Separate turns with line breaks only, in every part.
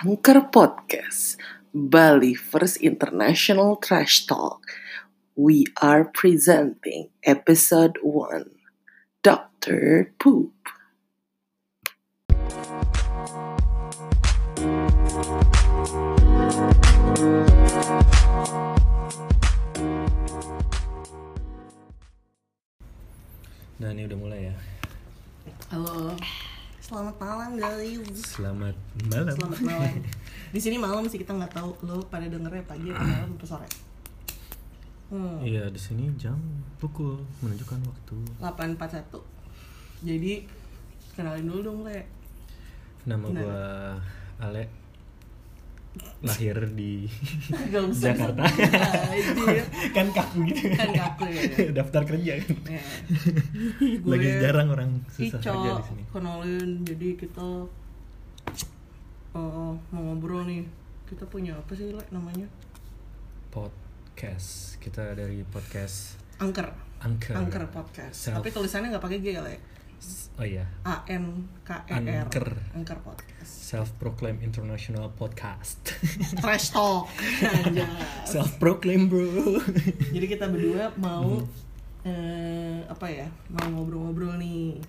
Angker Podcast Bali First International Trash Talk We are presenting episode 1 Dr. Poop
Nah ini udah mulai ya
Halo. Selamat malam guys.
Selamat malam
Selamat malam. Di sini malam sih kita nggak tahu lo pada dengernya pagi atau malam atau sore. Hmm,
Iya di sini jam pukul menunjukkan waktu
8.41. Jadi kenalin dulu dong Le.
Nama gua Ale Lahir di
Gak usah.
Jakarta
Anjir.
Kan kaku gitu
Kan kaku ya.
Daftar kerja kan
Ya.
Lagi
Gue
jarang orang susah kerja
Ico,
di sini
kenalin. Jadi kita eh, mau ngobrol nih. Kita punya apa sih Le namanya?
Podcast Kita dari podcast
Angker.
Angker
Angker podcast.
Self-
Tapi tulisannya nggak pakai G ya, Le.
Oh iya
A N K E R.
Angker.
Angker podcast.
Self Proclaim International Podcast
Trash talk. Anjas.
Self Proclaim bro
Jadi kita berdua mau
Hmm.
eh, apa ya? Mau ngobrol-ngobrol nih.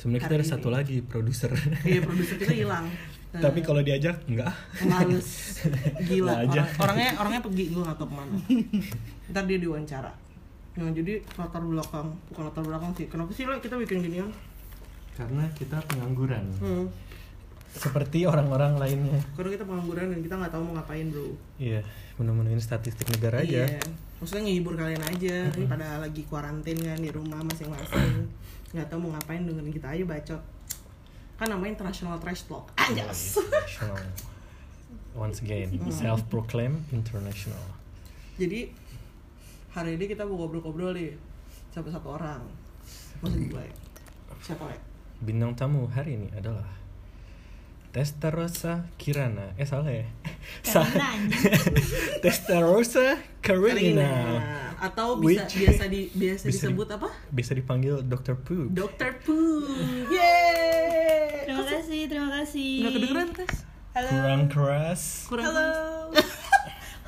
Sebenarnya kita ada
Hari
satu lagi produser
Iya, produser kita hilang. Eh,
Tapi kalau diajak enggak
males
Nah,
gila
aja.
Orang- orangnya orangnya pergi gue nggak tahu kemana ntar dia diwawancara nah jadi latar belakang bukan latar belakang sih kenapa sih lo kita bikin ginian
Karena kita pengangguran
hmm.
Seperti orang-orang lainnya
karena kita pengangguran dan kita nggak tahu mau ngapain bro
Iya, menemuin statistik negara aja.
Iya. Maksudnya ngehibur kalian aja. Ini pada lagi kuarantin kan di rumah masing-masing. nggak tahu mau ngapain dengerin kita aja bacot. Kan namanya international trash talk. Anjas.
International. Once again,
Mm.
self proclaim international.
Jadi hari ini kita mau ngobrol-ngobrol nih sama satu orang. Maksud gue. Siapa ya?
Bintang tamu hari ini adalah Testarossa Kirana. Eh salah ya. Salah. Testarossa Karina.
Atau bisa
Which-
biasa di biasa
bisa di-
disebut apa?
Bisa dipanggil Dr. Poop.
Dokter Poo. Yeay.
Terima kasih, terima kasih.
Nggak kedengeran, Tes?
Kurang keras.
Kurang
Halo.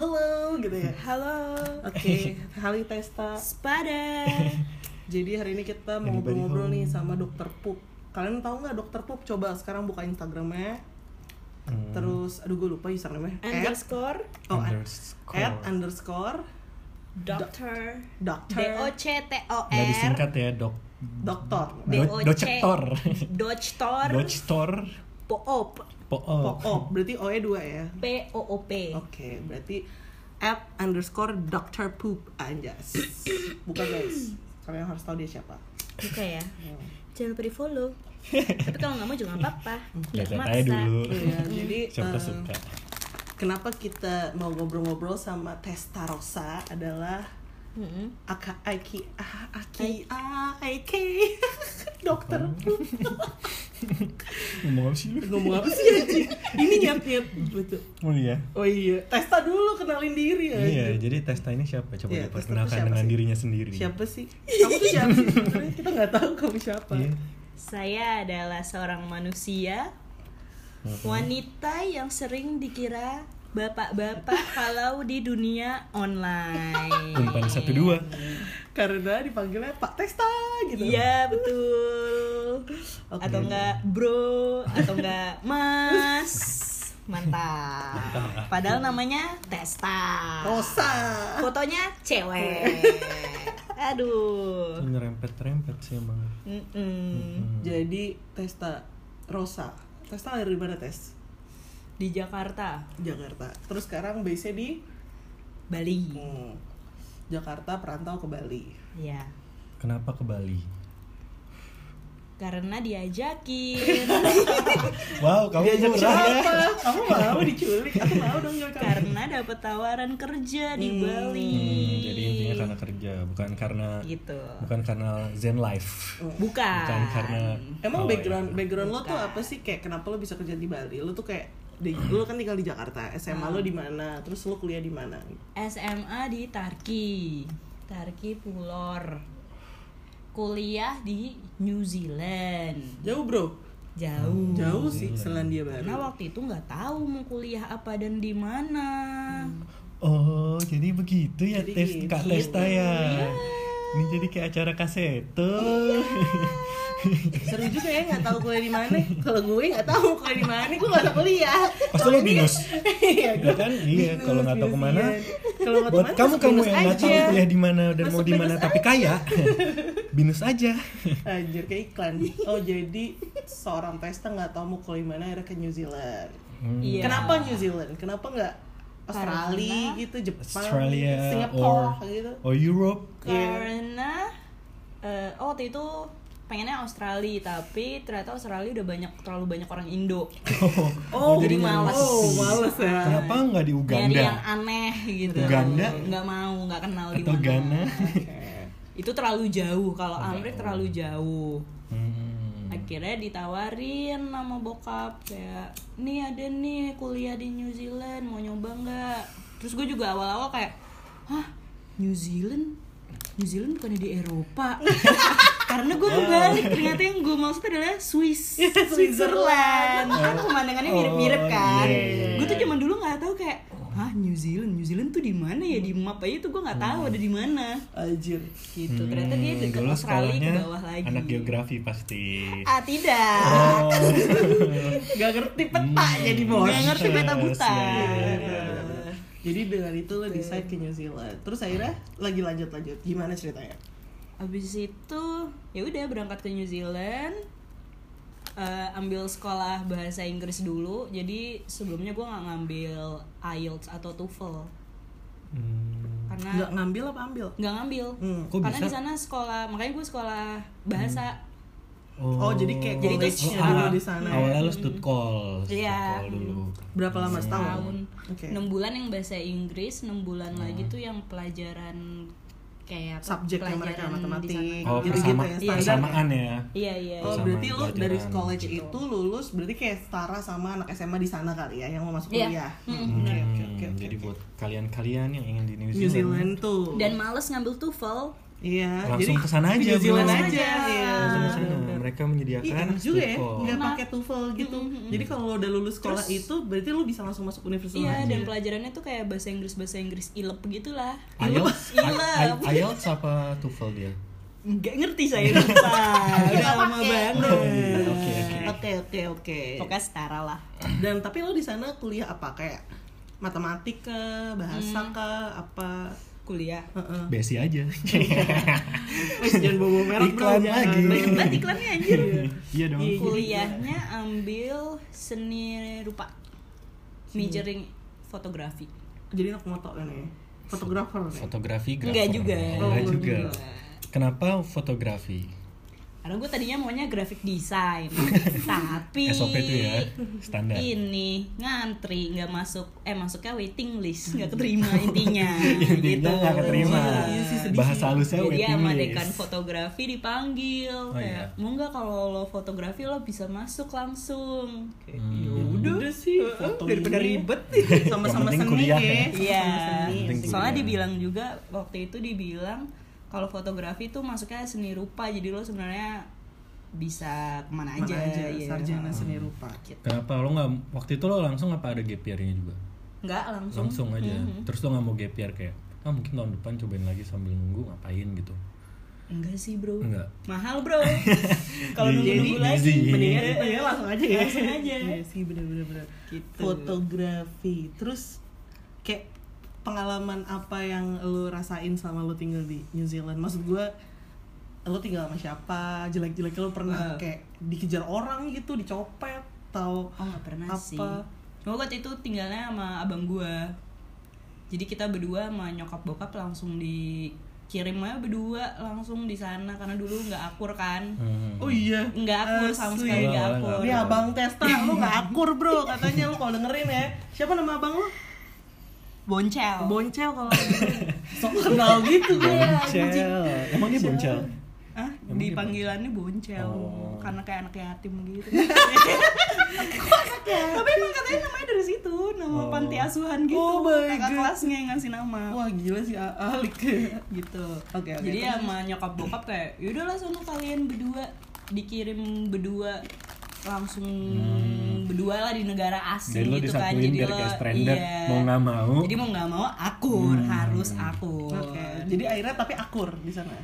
Halo gitu ya.
Halo.
Oke, Hali Testa.
Spada.
Eh?
Jadi hari ini kita mau
Anybody
ngobrol-ngobrol
home?
nih sama Dokter Pup. Kalian tahu nggak Dokter Pup? Coba sekarang buka Instagramnya.
Hmm,
Terus, aduh gue lupa username-nya. At-
Underscore
oh, at, at
underscore.
underscore
doctor. D
dokter
O C T O
Nggak
R.
disingkat ya, Dok.
dokter
D
Do-
O C.
Doctor.
Doctor.
Doctor.
Poop.
Poop.
oh berarti o nya dua ya
P O O P.
Oh.
oke berarti at underscore dokter poop anjas bukan guys kalian harus tahu dia siapa
Buka ya. Jangan lupa di follow. Tapi kalau nggak mau juga nggak apa-apa. Nggak
Lihat-lihat Hmm. aja
maksa.
dulu.
Iya, jadi
Siapa
eh,
suka.
kenapa kita mau ngobrol-ngobrol sama Testa Rosa adalah
Mm-mm.
Aka Aki ah, Aki ah, Aki dokter
Ngomong apa sih lu?
ngomong apa sih anjing ini nyet nyet betul
Oh iya.
oh iya Testa dulu kenalin diri ya
Iya, jadi Testa ini siapa? Coba
Iya, Testa tuh
diperkenalkan
siapa
dengan
sih?
dirinya sendiri.
siapa sih kamu tuh siapa sih sebenarnya kita nggak tahu kamu siapa
Iya.
Saya adalah seorang manusia
Hmm.
wanita yang sering dikira bapak-bapak kalau di dunia online.
Iya.
Umpan satu dua.
karena dipanggilnya Pak Testa gitu
Iya betul. Atau enggak bro, atau enggak mas. Mantap. Padahal namanya Testa.
Oh.
Rosa
Hmm.
Fotonya cewek. Aduh.
Nyerempet rempet sih emang.
Mm-mm.
jadi Testa Rosa Testa lahir di mana Tes
Di Jakarta,
Jakarta terus sekarang base nya di
Bali.
hmm, Jakarta perantau ke Bali
Ya.
Kenapa ke Bali?
Karena diajakin.
Wow, kamu murah ya.
Apa? Kamu mau diculik? Aku mau dong ya kamu.
karena dapat tawaran kerja di Bali.
Hmm, jadi intinya karena kerja, bukan karena
gitu.
bukan karena zen life.
Bukan.
Bukan karena
Emang
Oh,
background
iya.
background lo tuh apa sih kayak kenapa lo bisa kerja di Bali? Lo tuh kayak di, lo kan tinggal di Jakarta, SMA lo di mana? Terus lo kuliah di mana?
SMA di Tarki. Tarki Pulor. Kuliah di New Zealand.
Jauh bro.
Hmm.
jauh.
Jauh sih Selandia
Karena
Baru.
waktu itu nggak tahu mau kuliah apa dan di mana.
Hmm.
Oh, jadi begitu ya
Jadi
tes Kak
gitu.
Testa ya. Ini jadi kayak acara kaseto.
Iya. Seru juga ya nggak tahu kuliah di mana. Kalau gue nggak tahu kuliah di mana, gue nggak usah kuliah.
Pasti lo binus.
Iya,
Ya kan? Iya, kalau nggak tahu kemana.
Kalau nggak tahu
Buat
kemana,
kamu
masuk
kamu
minus
yang nggak tahu
aja.
kuliah di mana dan mau
Masuk
di mana
minus
tapi kaya, binus aja.
Anjir kayak iklan. Oh jadi seorang tester nggak tahu mau kuliah mana akhirnya ke New Zealand.
Hmm.
Iya.
Kenapa New Zealand? Kenapa nggak Australia
Karena-
gitu, Jepang,
Australia
Singapura
or
gitu?
or Europe.
Karena eh, oh waktu itu pengennya Australia tapi ternyata Australia udah banyak terlalu banyak orang Indo.
Oh,
jadi
males.
malas.
Oh males ya.
Kenapa nggak di
Nyari yang
Uganda
aneh gitu.
Uganda?
Nggak mau, nggak kenal di
atau
mana.
Ghana?
Itu terlalu jauh. Kalau Amerika terlalu jauh.
Hmm.
akhirnya ditawarin sama bokap kayak nih ada nih kuliah di New Zealand mau nyoba nggak terus gue juga awal-awal kayak hah New Zealand New Zealand bukannya di Eropa karena gue kebalik ternyata yang gue maksud adalah Swiss Switzerland kan pemandangannya mirip-mirip
Oh,
kan
iya, iya, iya.
gue tuh zaman dulu nggak tahu kayak hah New Zealand New Zealand tuh di mana ya di map aja tuh gue nggak tahu ada di mana
Anjir.
gitu
Kan
ternyata dia
Hmm,
deket
dulu
Australia ke
sekolahnya
bawah lagi
Anak Oh. geografi pasti.
ah tidak
Gak ngerti peta jadi bos.
Gak ngerti beta buta.
Oh, Iya, iya, iya,
Nah, Jadi dengan itu lo decide ke New Zealand. Terus akhirnya lagi lanjut-lanjut. Gimana ceritanya?
Abis itu ya udah berangkat ke New Zealand. eh, ambil sekolah bahasa Inggris dulu. Jadi sebelumnya gue nggak ngambil IELTS atau TOEFL
Hmm.
karena
Nggak ngambil apa ambil?
nggak ngambil.
Hmm.
Kok
karena
bisa?
di sana sekolah makanya gue sekolah bahasa.
Oh, jadi kayak
Jadi itu
college-nya
awal-
dulu di sana.
ah,
Hmm.
Awalnya lo stud call, stud
Iya.
call dulu.
Berapa lama setahun?
tahun
Oke. Hmm.
enam bulan yang bahasa Inggris 6 bulan lagi tuh yang pelajaran kayak apa,
Subjek yang mereka
pelajaran di
matematik.
sana.
Oh,
Gitu-gitu
persama,
ya, standar.
persamaan ya.
iya iya
Oh
Sama
berarti lo dari
pelajaran.
college itu lulus berarti kayak setara sama anak SMA di sana kali ya yang mau masuk
Iya.
kuliah.
Mm-mm.
Hmm, Oke oke
Hmm,
oke. oke.
jadi buat kalian-kalian yang ingin di New Zealand,
New Zealand tuh.
dan males ngambil TOEFL
iya.
Langsung
jadi
ke sana aja,
New Zealand
bro.
aja. Iya.
langsung Kan ke sana. mereka
Ih,
menyediakan
enak
stud
juga ya,
call.
nggak pakai TOEFL gitu. Jadi kalau lo udah lulus sekolah itu, berarti lo bisa langsung masuk universitas.
Iya,
aja.
dan pelajarannya tuh kayak bahasa Inggris bahasa Inggris ilep gitulah.
IELTS, I-
Ilep.
I- IELTS
Iya.
apa TOEFL dia?
Nggak ngerti saya
Iya.
lupa. Udah lama banget.
Iya.
Oke, oke.
Oke oke oke.
Pokoknya setara lah.
Dan tapi lo di sana kuliah apa kayak matematik ke bahasa
Hmm.
ke apa?
Kuliah.
Heeh.
Besi aja.
Iya. Wes, jangan bawa merek bro,
Iklan
jangan.
lagi.
Banyak banget iklannya anjir.
Iya dong.
Iya.
Kuliahnya ambil seni rupa. Majoring fotografi.
Jadi anak moto kan ya. Fotografer kan ya? nih.
Fotografi, grafik.
Enggak juga.
Enggak
Oh,
juga.
enggak.
Kenapa fotografi?
Karena gue tadinya maunya graphic design, tapi
SOP itu ya, standar.
ini ngantri nggak masuk, eh masuknya waiting list nggak keterima intinya, gitu.
Intinya nggak keterima.
Iya sih, sedih
Bahasa
sih.
halusnya
Jadi
waiting
sama dekan
list.
fotografi dipanggil
iya.
kayak, mau nggak kalau lo fotografi lo bisa masuk langsung. Kayak,
Ya
Hmm.
Udah, sih, foto daripada ribet nih. Sama-sama
penting
seni
kuliah
ya.
ya.
Iya.
Penting
Soalnya
kuliah.
dibilang juga waktu itu dibilang kalau fotografi itu masuknya seni rupa, jadi lo sebenarnya bisa kemana
Mana
aja,
aja,
iya.
sarjana seni rupa.
gitu.
Kenapa lo nggak waktu itu lo langsung apa ada gap year-nya juga?
Nggak langsung.
Langsung aja.
Mm-hmm.
Terus lo nggak mau gap year kayak, ah mungkin tahun depan cobain lagi sambil nunggu ngapain gitu.
Enggak sih bro.
Enggak.
Mahal bro. Kalau
Jadi-
nunggu-nunggu
jadi-
lagi
jadi-
mendingan
Iya, iya, langsung aja ya.
Langsung aja.
Iya sih, bener-bener.
Gitu.
Fotografi. Terus kayak pengalaman apa yang lu rasain selama lu tinggal di New Zealand? Maksud gue lu tinggal sama siapa? Jelek-jeleknya lu pernah
Ah.
kayak dikejar orang gitu, dicopet atau
Oh nggak pernah
Apa?
sih. Gue waktu itu tinggalnya sama abang gua Jadi kita berdua sama nyokap bokap langsung dikirimnya berdua langsung di sana karena dulu nggak akur kan.
Hmm.
Oh iya.
Nggak akur sama
Asli.
sekali nggak
Nggak,
akur.
Ini abang Testa, lu gak akur bro katanya lu kalau dengerin ya. Siapa nama abang lu?
Boncel. Iya,
Boncel kalau dengerin. sok kenal gitu gue. anjing.
Boncel. Emang dia boncel?
Hah? Dipanggilannya boncel
Oh.
karena kayak anak yatim gitu. Tapi emang katanya namanya dari situ, nama
Oh.
panti asuhan gitu.
Oh my
Kakak
God.
kelasnya yang ngasih nama.
Wah gila sih A- Alik.
gitu.
Iya. Oke, oke.
Jadi "Ya sama nyokap bokap kayak yaudahlah sono kalian berdua dikirim berdua langsung berdua lah di negara asing
Jadi Hmm. lo
gitu kan
disatuin biar
lo-
kayak stranded
iya.
mau nggak mau. Hmm.
jadi mau nggak mau akur harus akur
Oke, jadi akhirnya tapi akur di sana.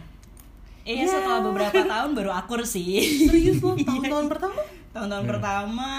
Iya setelah beberapa tahun baru akur sih Iya.
Serius lo tahun-tahun pertama?
tahun-tahun
Hmm.
pertama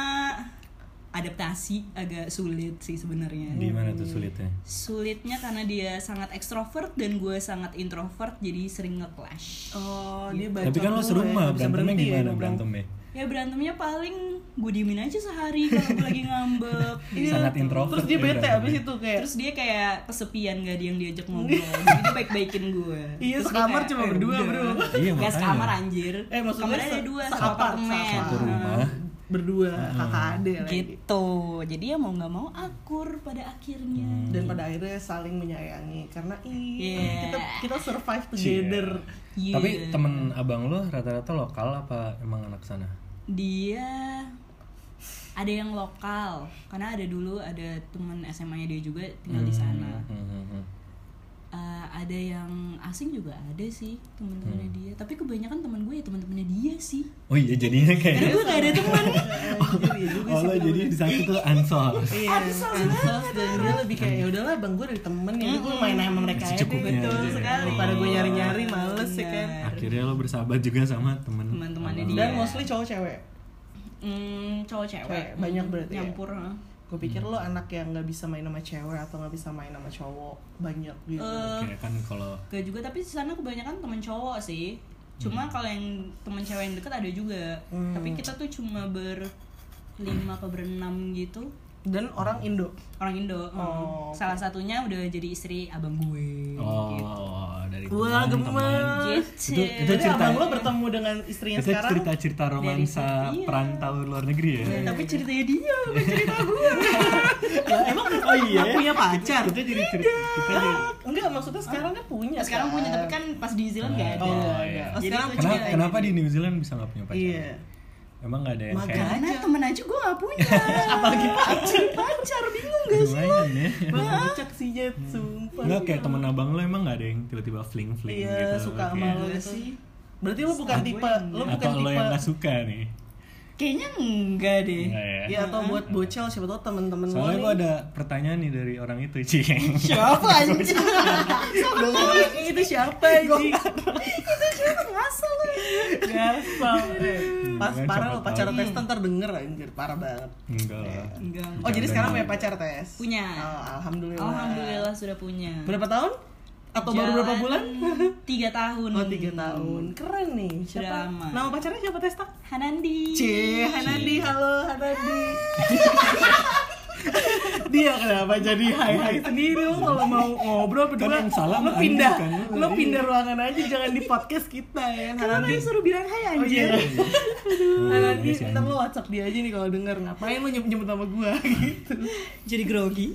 adaptasi agak sulit sih
Iya.
sebenarnya
Di mana tuh sulitnya?
sulitnya karena dia sangat ekstrovert dan gue sangat introvert jadi sering nge-clash
Oh, dia bacot
Tapi kan lo
dulu
serumah,
ya, nggak bisa
berantemnya
berhenti ya
gimana
ngomong.
berantemnya?
ya berantemnya paling gue diemin aja sehari kalau gue lagi ngambek
Iya.
Sangat introvert.
Terus dia
ya
bete
berantemnya.
abis itu kayak iya,
terus dia kayak kesepian gak ada yang diajak ngobrol jadi dia baik-baikin gue
Iya,
Terus gue
sekamar
kayak,
cuma
"Eh,
berdua,
udah."
bro.
Iya,
Gak
makanya.
sekamar anjir
Eh, maksudnya
Kamarnya ada
se-
dua,
seapart,
satu apartemen
seapart.
Satu rumah.
berdua
Ah.
kakak ade lagi.
Gitu, jadi ya mau gak mau akur pada akhirnya
Hmm.
Dan pada akhirnya saling menyayangi karena ih,
Iya.
kita kita survive together.
Iya.
Tapi temen abang lo rata-rata lokal apa emang anak sana?
dia ada yang lokal karena ada dulu ada teman SMA-nya dia juga tinggal di sana
Hmm, hmm, hmm.
Eh, ada yang asing juga ada sih
Hmm.
teman-temannya dia tapi kebanyakan teman gue ya teman-temannya dia sih
Oh iya jadinya
Eh,
karena
kayak
gue gak ada teman
Anjir, iya juga
Oh
sih.
lo jadi di satu tuh ansor
Iya, ansos dan dia lebih kayak ya udahlah bang gue dari temen ya, gue main sama mereka aja.
Secukupnya
Betul
aja.
sekali. Pada
Oh.
gue nyari-nyari males
Iya.
ya kan.
Akhirnya lo bersahabat juga sama temen
Teman-temannya
abang
dia.
lo. ya.
Dan mostly cowok cewek.
Hmm, cowok
Cewek,
cewek Hmm,
banyak berarti ya?
nyampur heeh.
Gue pikir
Hmm.
lo anak yang nggak bisa main sama cewek atau nggak bisa main sama cowok banyak gitu.
Eh.
Kayak kan kalau
Gak juga tapi di sana kebanyakan teman cowok sih cuma
Hmm.
kalau yang teman cewek yang deket ada juga tapi kita tuh cuma berlima ke berenam gitu
Dan orang Indo.
orang Indo hmm.
Oh,
salah satunya udah jadi istri abang gue
Oh dari teman,
Wah, Gitu. gemes.
teman.
Gitu.
Itu, itu
Jadi
cerita
abang lo bertemu dengan istrinya
itu
sekarang.
cerita-cerita romansa
Dari- iya.
perantau luar negeri ya
Iya.
tapi ceritanya dia bukan cerita gue
Ya, emang
Oh iya
nggak punya pacar. Iya.
Kita jadi cerita kita jadi-
Enggak, maksudnya sekarang kan punya.
sekarang
kan?
punya tapi kan pas di New Zealand gak ada
Oh, nggak ada.
iya.
Oh, sekarang
Jadi-
punya
Kenapa,
lagi.
kenapa di New Zealand bisa nggak punya pacar?
Iya.
Emang nggak ada yang kayak
karena temen aja gue gak punya apalagi pacar pacar bingung gak sih
lumayan ya?
Bang bucak sih Jet, sumpah.
Enggak Hmm. kayak temen abang lo emang nggak ada yang tiba-tiba fling fling
Iya,
gitu.
suka sama
kayak-
lo
Gue
gitu.
sih.
Berarti lo bukan
Sama gue
tipe, lo
enggak.
bukan
Atau lo
tipe. Eh,
yang nggak suka nih?
kayaknya enggak deh
Nggak ya?
Ya atau buat bocel siapa tau temen-temen lo
Soalnya gue
nih.
ada pertanyaan nih dari orang itu Cing.
siapa anjir
Lo ngomong, "Ih, itu siapa anjing?
ngasal lu
Gasal. eh. Pas
Jangan
parah
Hmm, siapa
lo pacar tes
Hmm.
ntar denger anjir, parah banget.
Enggak lah.
enggak
Oh, jadi sekarang punya pacar tes?
Punya.
Oh, alhamdulillah.
alhamdulillah sudah punya
Berapa tahun? Atau baru berapa
Jalan
bulan?
tiga tahun
Oh, tiga tahun. Keren nih.
Sudah
Siapa?
lama.
Nama pacarnya siapa Testa?
Hanandi
C, Hanandi, halo Hanandi. Dia kenapa jadi hai hai sendiri lo kalau mau ngobrol berdua
Kan yang salah
lo
Hanandi,
pindah
bukan lo.
lo pindah ruangan aja jangan di podcast kita ya Hanandi
suruh bilang hai
Oh
Oh,
iya. Hanandi
iya sih,
ntar lo WhatsApp dia aja nih kalau denger ngapain lo nyebut nyebut sama gua gitu.
jadi grogi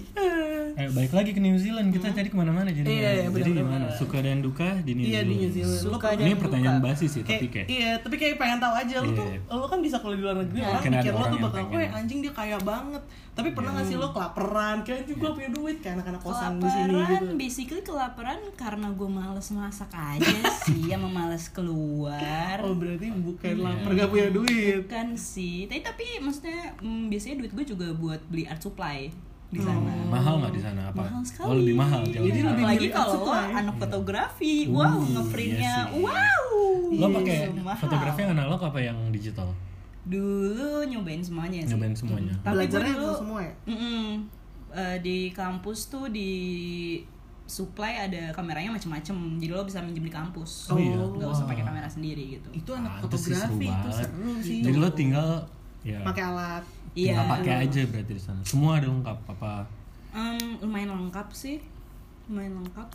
Eh, balik lagi ke New Zealand kita tadi kemana-mana jadi
Iya, iya,
jadi
benar-benar.
gimana suka dan duka di New
Iya
Zealand.
di New Zealand. Lo
Suka
Ini
dan
pertanyaan
duka.
basi sih tapi
kayak,
kayak
iya tapi kayak pengen tahu aja lo tuh
Iya.
lo kan bisa kalau di luar negeri orang
Mungkin ada
mikir lo
orang
tuh
yang
bakal
pengen.
weh anjing dia kaya banget tapi pernah nggak sih lo kelaperan kayak anjing
Iya.
gua punya duit kayak anak-anak
Oh,
kosan di sini
kelaparan
gitu
basically kelaparan karena gue males masak aja sih sama males keluar
oh berarti bukan
Iya.
lapar gak punya duit
kan sih tapi tapi maksudnya mm, biasanya duit gue juga buat beli art supply di sana
mahal nggak di sana apa?
mahal sekali
Oh lebih mahal jauh.
Jadi
lebih mahal.
lebih dari
apalagi
art
kalau
supply.
anak fotografi wow ngeprintnya
iya sih.
wow
lo pakai
Iya,
mahal.
fotografi yang analog apa yang digital?
dulu nyobain
Iya,
semuanya sih
Nyobain semuanya.
Tapi
belajarnya
gua dulu-
itu semua ya
Mm-mm. Eh, di kampus tuh di supply ada kameranya macem-macem jadi lo bisa minjem di kampus
Oh, iya.
nggak usah pakai kamera sendiri gitu
itu anak
Ah, itu sih seru
fotografi itu
banget.
seru sih
Jadi lo tinggal ya
pakai alat
iya
tinggal pakai aja berarti di sana. Semua ada lengkap apa?
Em, lumayan lengkap sih lumayan lengkap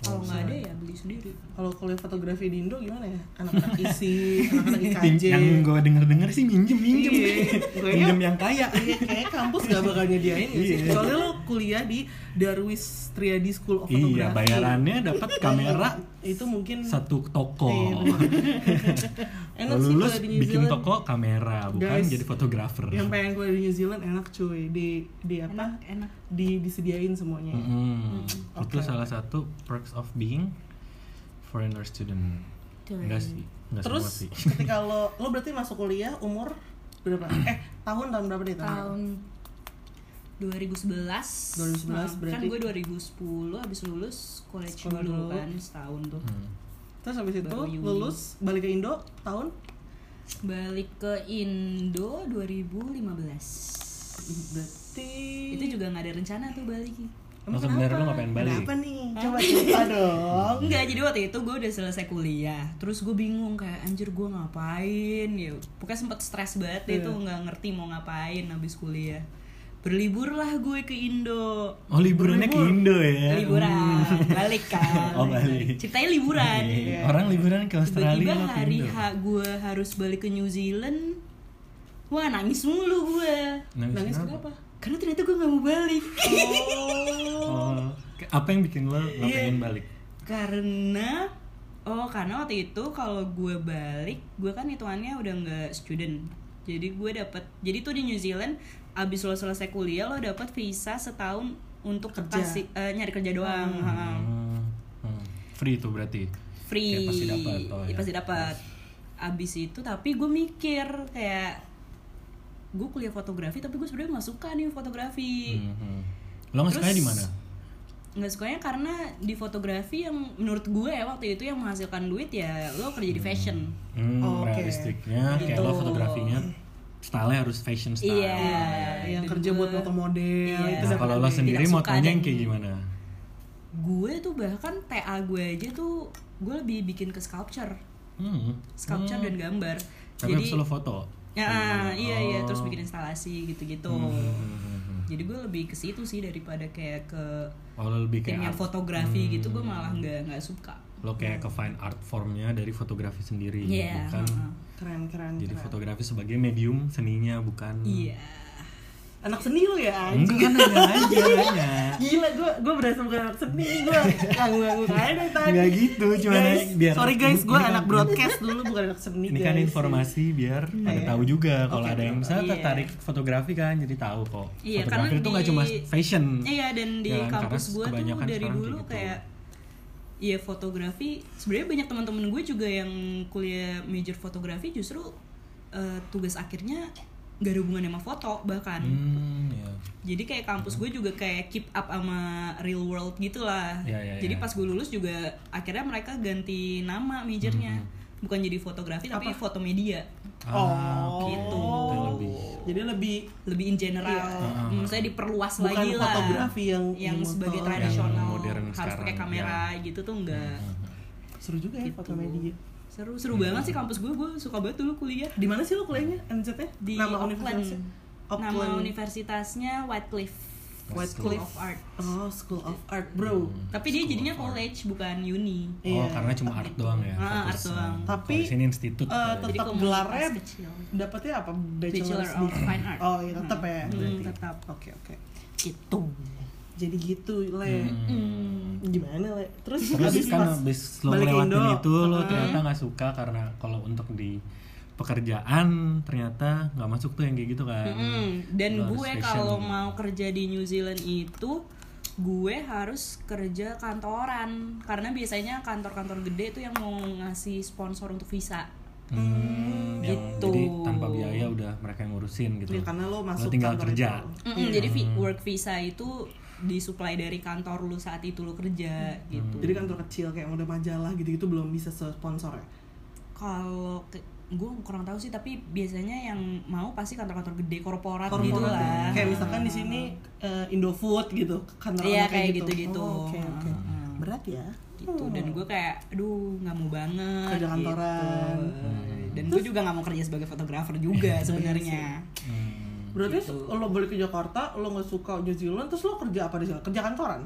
kalau nggak ada ya beli sendiri
kalau kuliah fotografi di Indo gimana ya anak-anak isi anak-anak IKJ
Yang gue denger denger sih minjem minjem,
Iya. Gua-
minjem yang kaya.
Iya, kayaknya kampus gak bakal nyediain gak sih?
Iya.
Kecuali lo kuliah di Darwis Triadi School of Photography
Iya bayarannya dapat kamera
Itu mungkin
satu toko.
Iya,
Lo
enak sih
lulus
kuliah di New
bikin
Zealand
toko kamera bukan
Guys,
jadi fotografer.
Yang pengen kuliah di New Zealand enak cuy Di, di apa?
enak enak
Di, disediain semuanya
Mm-mm. Hmm, Itu
Hmm, Oke.
salah satu perks of being foreigner student.
Tuh.
Enggak sih, enggak
Terus
semua sih.
ketika lo, lo berarti masuk kuliah umur berapa eh tahun tahun berapa nih tahun berapa?
tahun 2011
2011
Nah, kan
berarti-
gue 2010 habis lulus college
Sekolah
dulu
dulu.
kan setahun tuh
terus habis itu
Baru Yuni.
lulus balik ke Indo tahun
balik ke Indo 2015
berarti
itu juga nggak ada rencana tuh balik
Emang
Langsung bener lu nggak pengen balik?
Ada apa nih coba cerita dong
enggak jadi waktu itu gue udah selesai kuliah terus gue bingung kayak anjir gue ngapain ya pokoknya sempet stres banget deh
Iya.
tuh nggak ngerti mau ngapain habis kuliah berliburlah gue ke Indo
Oh liburannya ke Indo ya?
liburan balik kan
Oh, balik.
ceritanya liburan
Iya. Orang liburan ke Australia
tiba-tiba
lo ke
hari
Indo.
H gue harus balik ke New Zealand wah nangis mulu gue
Nangis,
nangis
kenapa?
kenapa
karena ternyata gue nggak mau balik
Oh, ke- apa yang bikin lo
Iya.
nggak pengen balik?
karena oh karena waktu itu kalau gue balik gue kan hitungannya udah nggak student jadi gue dapat jadi tuh di New Zealand abis lo selesai kuliah lo dapat visa setahun untuk
Kerja.
kasih eh, nyari kerja doang Ha.
Hmm, hmm. Free itu berarti.
free
Ya, pasti dapat, oh
Ya,
ya.
pasti dapat abis itu tapi gue mikir kayak gue kuliah fotografi tapi gue sebenarnya nggak suka nih fotografi
Hmm, hmm. Lo nggak sukanya di mana?
nggak sukanya karena di fotografi yang menurut gue ya waktu itu yang menghasilkan duit ya lo kerja di fashion
Hmm,
Oh, oke.
realistiknya kayak
Gitu.
lo fotografinya style harus fashion style.
iya
yang
itu
kerja
gue.
buat foto model
Iya.
itu
Nah,
dapat
kalau lo
duit.
sendiri
Tidak suka
motonya yang
dan-
kayak gimana?
gue tuh bahkan TA gue aja tuh gue lebih bikin ke sculpture
Hmm.
sculpture dan gambar
Tapi harus lo foto.
ya iya iya terus bikin instalasi gitu-gitu jadi gue lebih ke situ sih daripada kayak ke
Oh, lo lebih
tim
kayak
yang fotografi gitu gue malah nggak nggak suka
lo kayak ke fine art formnya dari fotografi sendiri,
Iya,
bukan
heeh.
keren keren
jadi
keren.
fotografi sebagai medium seninya, bukan?
iya
anak seni lu ya anjing
Enggak kan nanya aja nanya.
gila gue gue berasa bukan anak seni gue nganggung nganggung aja dari tadi
Nggak gitu, cuma
Guys,
nanya biar-
sorry guys gue
Ini kan-
anak broadcast dulu bukan anak seni
Iya
Ini kan
guys.
informasi biar pada tahu juga kalau ada yang misalnya
Iya.
tertarik fotografi kan jadi tahu kok.
Iya,
fotografi
karena
itu
di-
nggak cuma fashion.
iya dan di
Ya, karena
kampus gue tuh
kebanyakan
dari
sekarang kayak
dulu
gitu.
kayak Iya fotografi sebenarnya banyak teman-teman gue juga yang kuliah major fotografi justru eh, tugas akhirnya gak ada hubungannya sama foto bahkan
Hmm, ya.
jadi kayak kampus gue juga kayak keep up sama real world gitulah
Ya, ya, ya.
jadi pas gue lulus juga akhirnya mereka ganti nama
Hmm,
majornya bukan jadi fotografi tapi foto media
Oh.
gitu. Ah, Itu lebih.
jadi lebih
lebih in general
Iya. Ah,
Hmm, saya
Bukan
diperluas lagi lah
fotografi yang- Iya.
yang
yang
sebagai
motor.
tradisional
Yang modern
harus pakai
sekarang, ya. Hmm.
kamera gitu tuh enggak
seru juga
Gitu.
ya foto media
seru seru
Iya.
banget sih kampus gue gue suka banget dulu kuliah
di mana sih lu kuliahnya NZ-nya?
di
nama
Auckland.
universitasnya
nama
Auckland.
universitasnya Wycliffe School
Wycliffe
of Art
oh School of Art bro
Hmm.
tapi dia jadinya college bukan uni
Oh,
Iya.
karena cuma art doang ya.
Ah, art
fokusnya.
doang.
Tapi,
Kalau di sini institut.
eh,
ya.
tetap
komunitas
gelarnya
kecil.
dapatnya apa bachelor,
Bachelor of Fine Art.
oh iya tetap ya
Hmm, tetap
oke oke
gitu Hmm.
jadi gitu le gimana le terus
Terus kan
pas
habis lo
balik ke
ngelewatin
Indo,
itu lo ternyata nggak suka karena kalau untuk di pekerjaan ternyata nggak masuk tuh yang kayak gitu kan.
Mm, dan
Lo harus
gue
fashion.
kalau mau kerja di New Zealand itu gue harus kerja kantoran karena biasanya kantor-kantor gede tuh yang mau ngasih sponsor untuk visa
Hmm, yang
gitu.
jadi tanpa biaya udah mereka yang ngurusin gitu.
Ya, karena lo masuk
tinggal
kantor
kerja.
itu.
Mm-mm, jadi vi- work visa itu disuplai dari kantor lu saat itu lu kerja gitu
Hmm. jadi kantor kecil kayak udah majalah gitu gitu belum bisa sponsor ya
kalau ke- gue kurang tahu sih tapi biasanya yang mau pasti kantor-kantor gede korporat,
Korporat ya.
gitu lah
kayak misalkan di sini eh, Indofood gitu kantor
Iya,
anak
kayak gitu-gitu.
Oh, oke oke
Hmm.
berat ya
gitu dan gue kayak aduh nggak mau banget
Kerja kantoran. Iya,
gitu. dan gue juga nggak mau kerja sebagai fotografer juga sebenarnya
Hmm.
berarti lo balik ke Jakarta lo nggak suka New Zealand terus lo kerja apa di sana kerja kantoran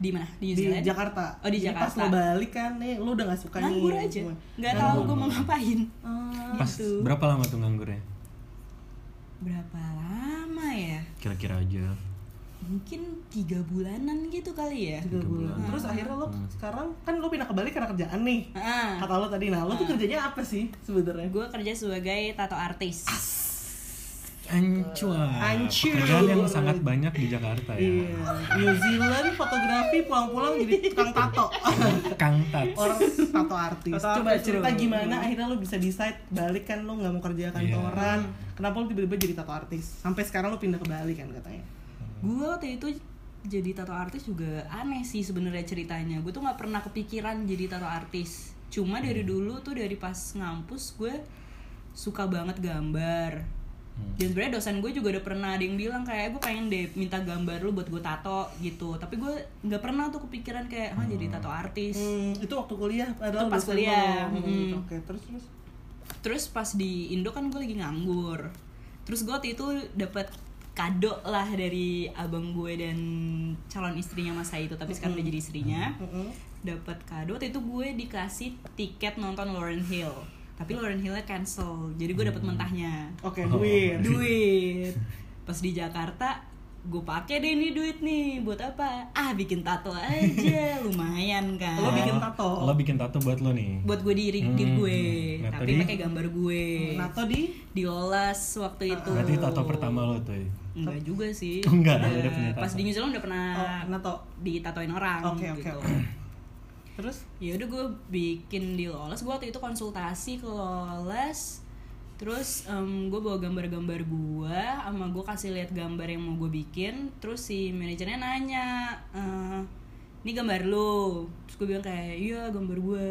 di mana di New
di
Zealand
Jakarta
Oh, di
Jadi pas
Jakarta.
lo balik kan nih lo udah nggak suka nih
nganggur aja
semua.
nggak tahu gue mau ngapain
Oh.
Pas
gitu
berapa lama tuh nganggurnya?
berapa lama ya
Kira-kira aja.
mungkin tiga bulanan gitu kali ya
tiga bulan. Terus akhirnya lo sekarang kan lo pindah ke Bali karena kerjaan nih.
ah
Kata lo Hmm. tadi, nah lo tuh kerjanya apa sih sebenarnya?
gue kerja sebagai tato artis
Ancua.
Ancua.
Pekerjaan yang sangat banyak di Jakarta ya.
Iya. New Zealand fotografi pulang-pulang jadi tukang tato.
Kang Tat.
Orang tato artis.
Tato
Coba
artis,
cerita
bro.
gimana akhirnya lu bisa decide balik kan lu nggak mau kerja kantoran. Kenapa lu tiba-tiba jadi tato artis? Sampai sekarang lu pindah ke Bali kan katanya.
gue waktu itu jadi tato artis juga aneh sih sebenarnya ceritanya gue tuh nggak pernah kepikiran jadi tato artis cuma dari dulu tuh dari pas ngampus gue suka banget gambar dan sebenarnya dosen gue juga udah pernah ada yang bilang kayak gue pengen deh minta gambar lu buat gue tato gitu tapi gue nggak pernah tuh kepikiran kayak ah jadi tato artis
Hmm, itu waktu kuliah padahal
Itu pas
dosen lu
kuliah,
ngomong
mm.
gitu. Oke, terus terus.
terus pas di Indo kan gue lagi nganggur terus gue waktu itu dapat kado lah dari abang gue dan calon istrinya masa itu tapi sekarang udah jadi istrinya
Mm-mm.
dapat kado waktu itu gue dikasih tiket nonton Lauren Hill tapi Lauren Hillnya cancel jadi gue
Mm.
dapat mentahnya
Oke, duit.
duit pas di Jakarta gue pakai deh ini duit nih buat apa ah bikin tato aja lumayan kan
Lo Oh, bikin tato.
Lo bikin tato buat lo nih.
buat gue diri
Hmm,
diri gue
nah,
tapi
tadi-
pakai gambar gue
Nato di
dioles waktu itu
Ah. Berarti tato pertama lo tuh.
enggak juga sih
Enggak,
Udah-
udah punya tato.
pas di New Zealand udah pernah
oh, Nato.
ditatoin orang
Oke, oke,
gitu
oke. Terus
ya udah gue bikin di Loles gue waktu itu konsultasi ke Loles terus gue bawa gambar-gambar gue sama gue kasih lihat gambar yang mau gue bikin terus si manajernya nanya "Eh, ini gambar lo terus gue bilang kayak iya gambar gue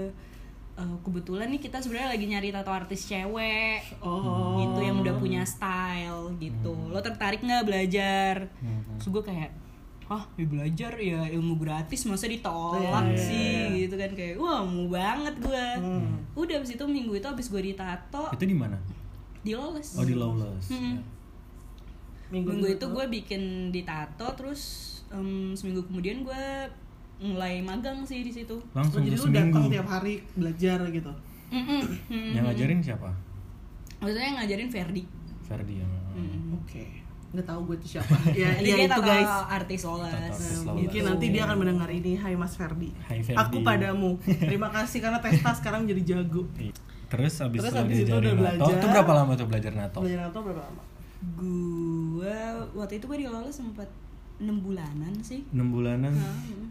Eh, kebetulan nih kita sebenarnya lagi nyari tato artis cewek
oh,
gitu yang udah punya style gitu
Hmm.
lo tertarik nggak belajar terus gue kayak ah ya belajar ya ilmu gratis masa ditolak
Iya.
sih gitu kan kayak wah mau banget gue
Hmm.
udah abis itu minggu itu abis gue ditato
Itu di mana?
di lolos
Oh di Lawless.
Mm-mm.
Hmm.
Ya.
minggu,
minggu itu gue bikin ditato terus em, seminggu kemudian gue mulai magang sih di situ
Oh,
Langsung
jadi
tuh
lu datang
seminggu.
tiap Hmm. hari belajar gitu.
Mm-mm. Mm.
Yang ngajarin siapa?
maksudnya yang ngajarin Ferdi
Ferdi yang.
Oke. Nggak tahu gue itu siapa. ya,
Jadi
ya
dia
itu
tato
guys.
artis Loles
Tato artis Loles.
Mungkin nanti dia akan mendengar ini. Hai Mas Ferdi.
Hai, Ferdi.
Aku padamu. Terima kasih karena Testa sekarang jadi jago.
Terus abis
Terus
lo
abis itu
diajarin
udah
nato.
belajar.
Itu berapa lama tuh belajar nato?
Belajar Nato berapa lama?
gue waktu itu gue di Lola sempat enam bulanan sih
6 bulanan.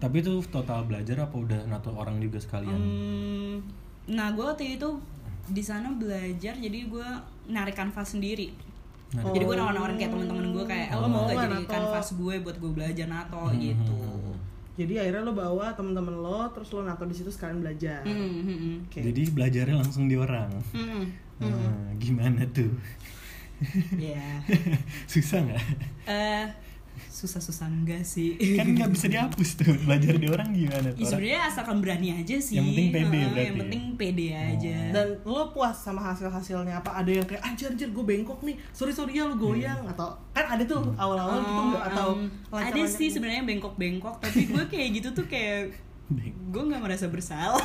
Tapi itu total belajar apa udah nato orang juga sekalian?
Hmm, nah gue waktu itu di sana belajar jadi gue narik kanvas sendiri
Narik
jadi gue nawarin kayak teman-teman gue kayak eh,
Oh,
lo
mau
mau gak
nggak
jadi
nato?
kanvas gue buat gue belajar
Hmm,
nato gitu
Jadi akhirnya lo bawa teman-teman lo, terus lo Nato di situ sekalian belajar.
Hmm, hmm, hmm.
Oke.
Jadi belajarnya langsung di orang.
Hmm,
Nah, gimana tuh?
ya
Susah nggak?
Eh, susah-susah enggak sih
Kan nggak bisa dihapus tuh. Belajar di orang gimana
Ya,
tuh? Orang-
sebenarnya asalkan berani aja sih
Yang penting pede
Heeh,
berarti
yang
ya? Oh.
penting pede aja
Dan lo puas sama hasil-hasilnya apa? Ada yang kayak anjir anjir gue bengkok nih, sorry sorry ya lo goyang atau kan ada tuh awal-awal gitu nggak atau
Um, ada
lancar-lancar
sih
gitu?
sebenarnya bengkok-bengkok tapi gue kayak gitu tuh kayak gue nggak merasa bersalah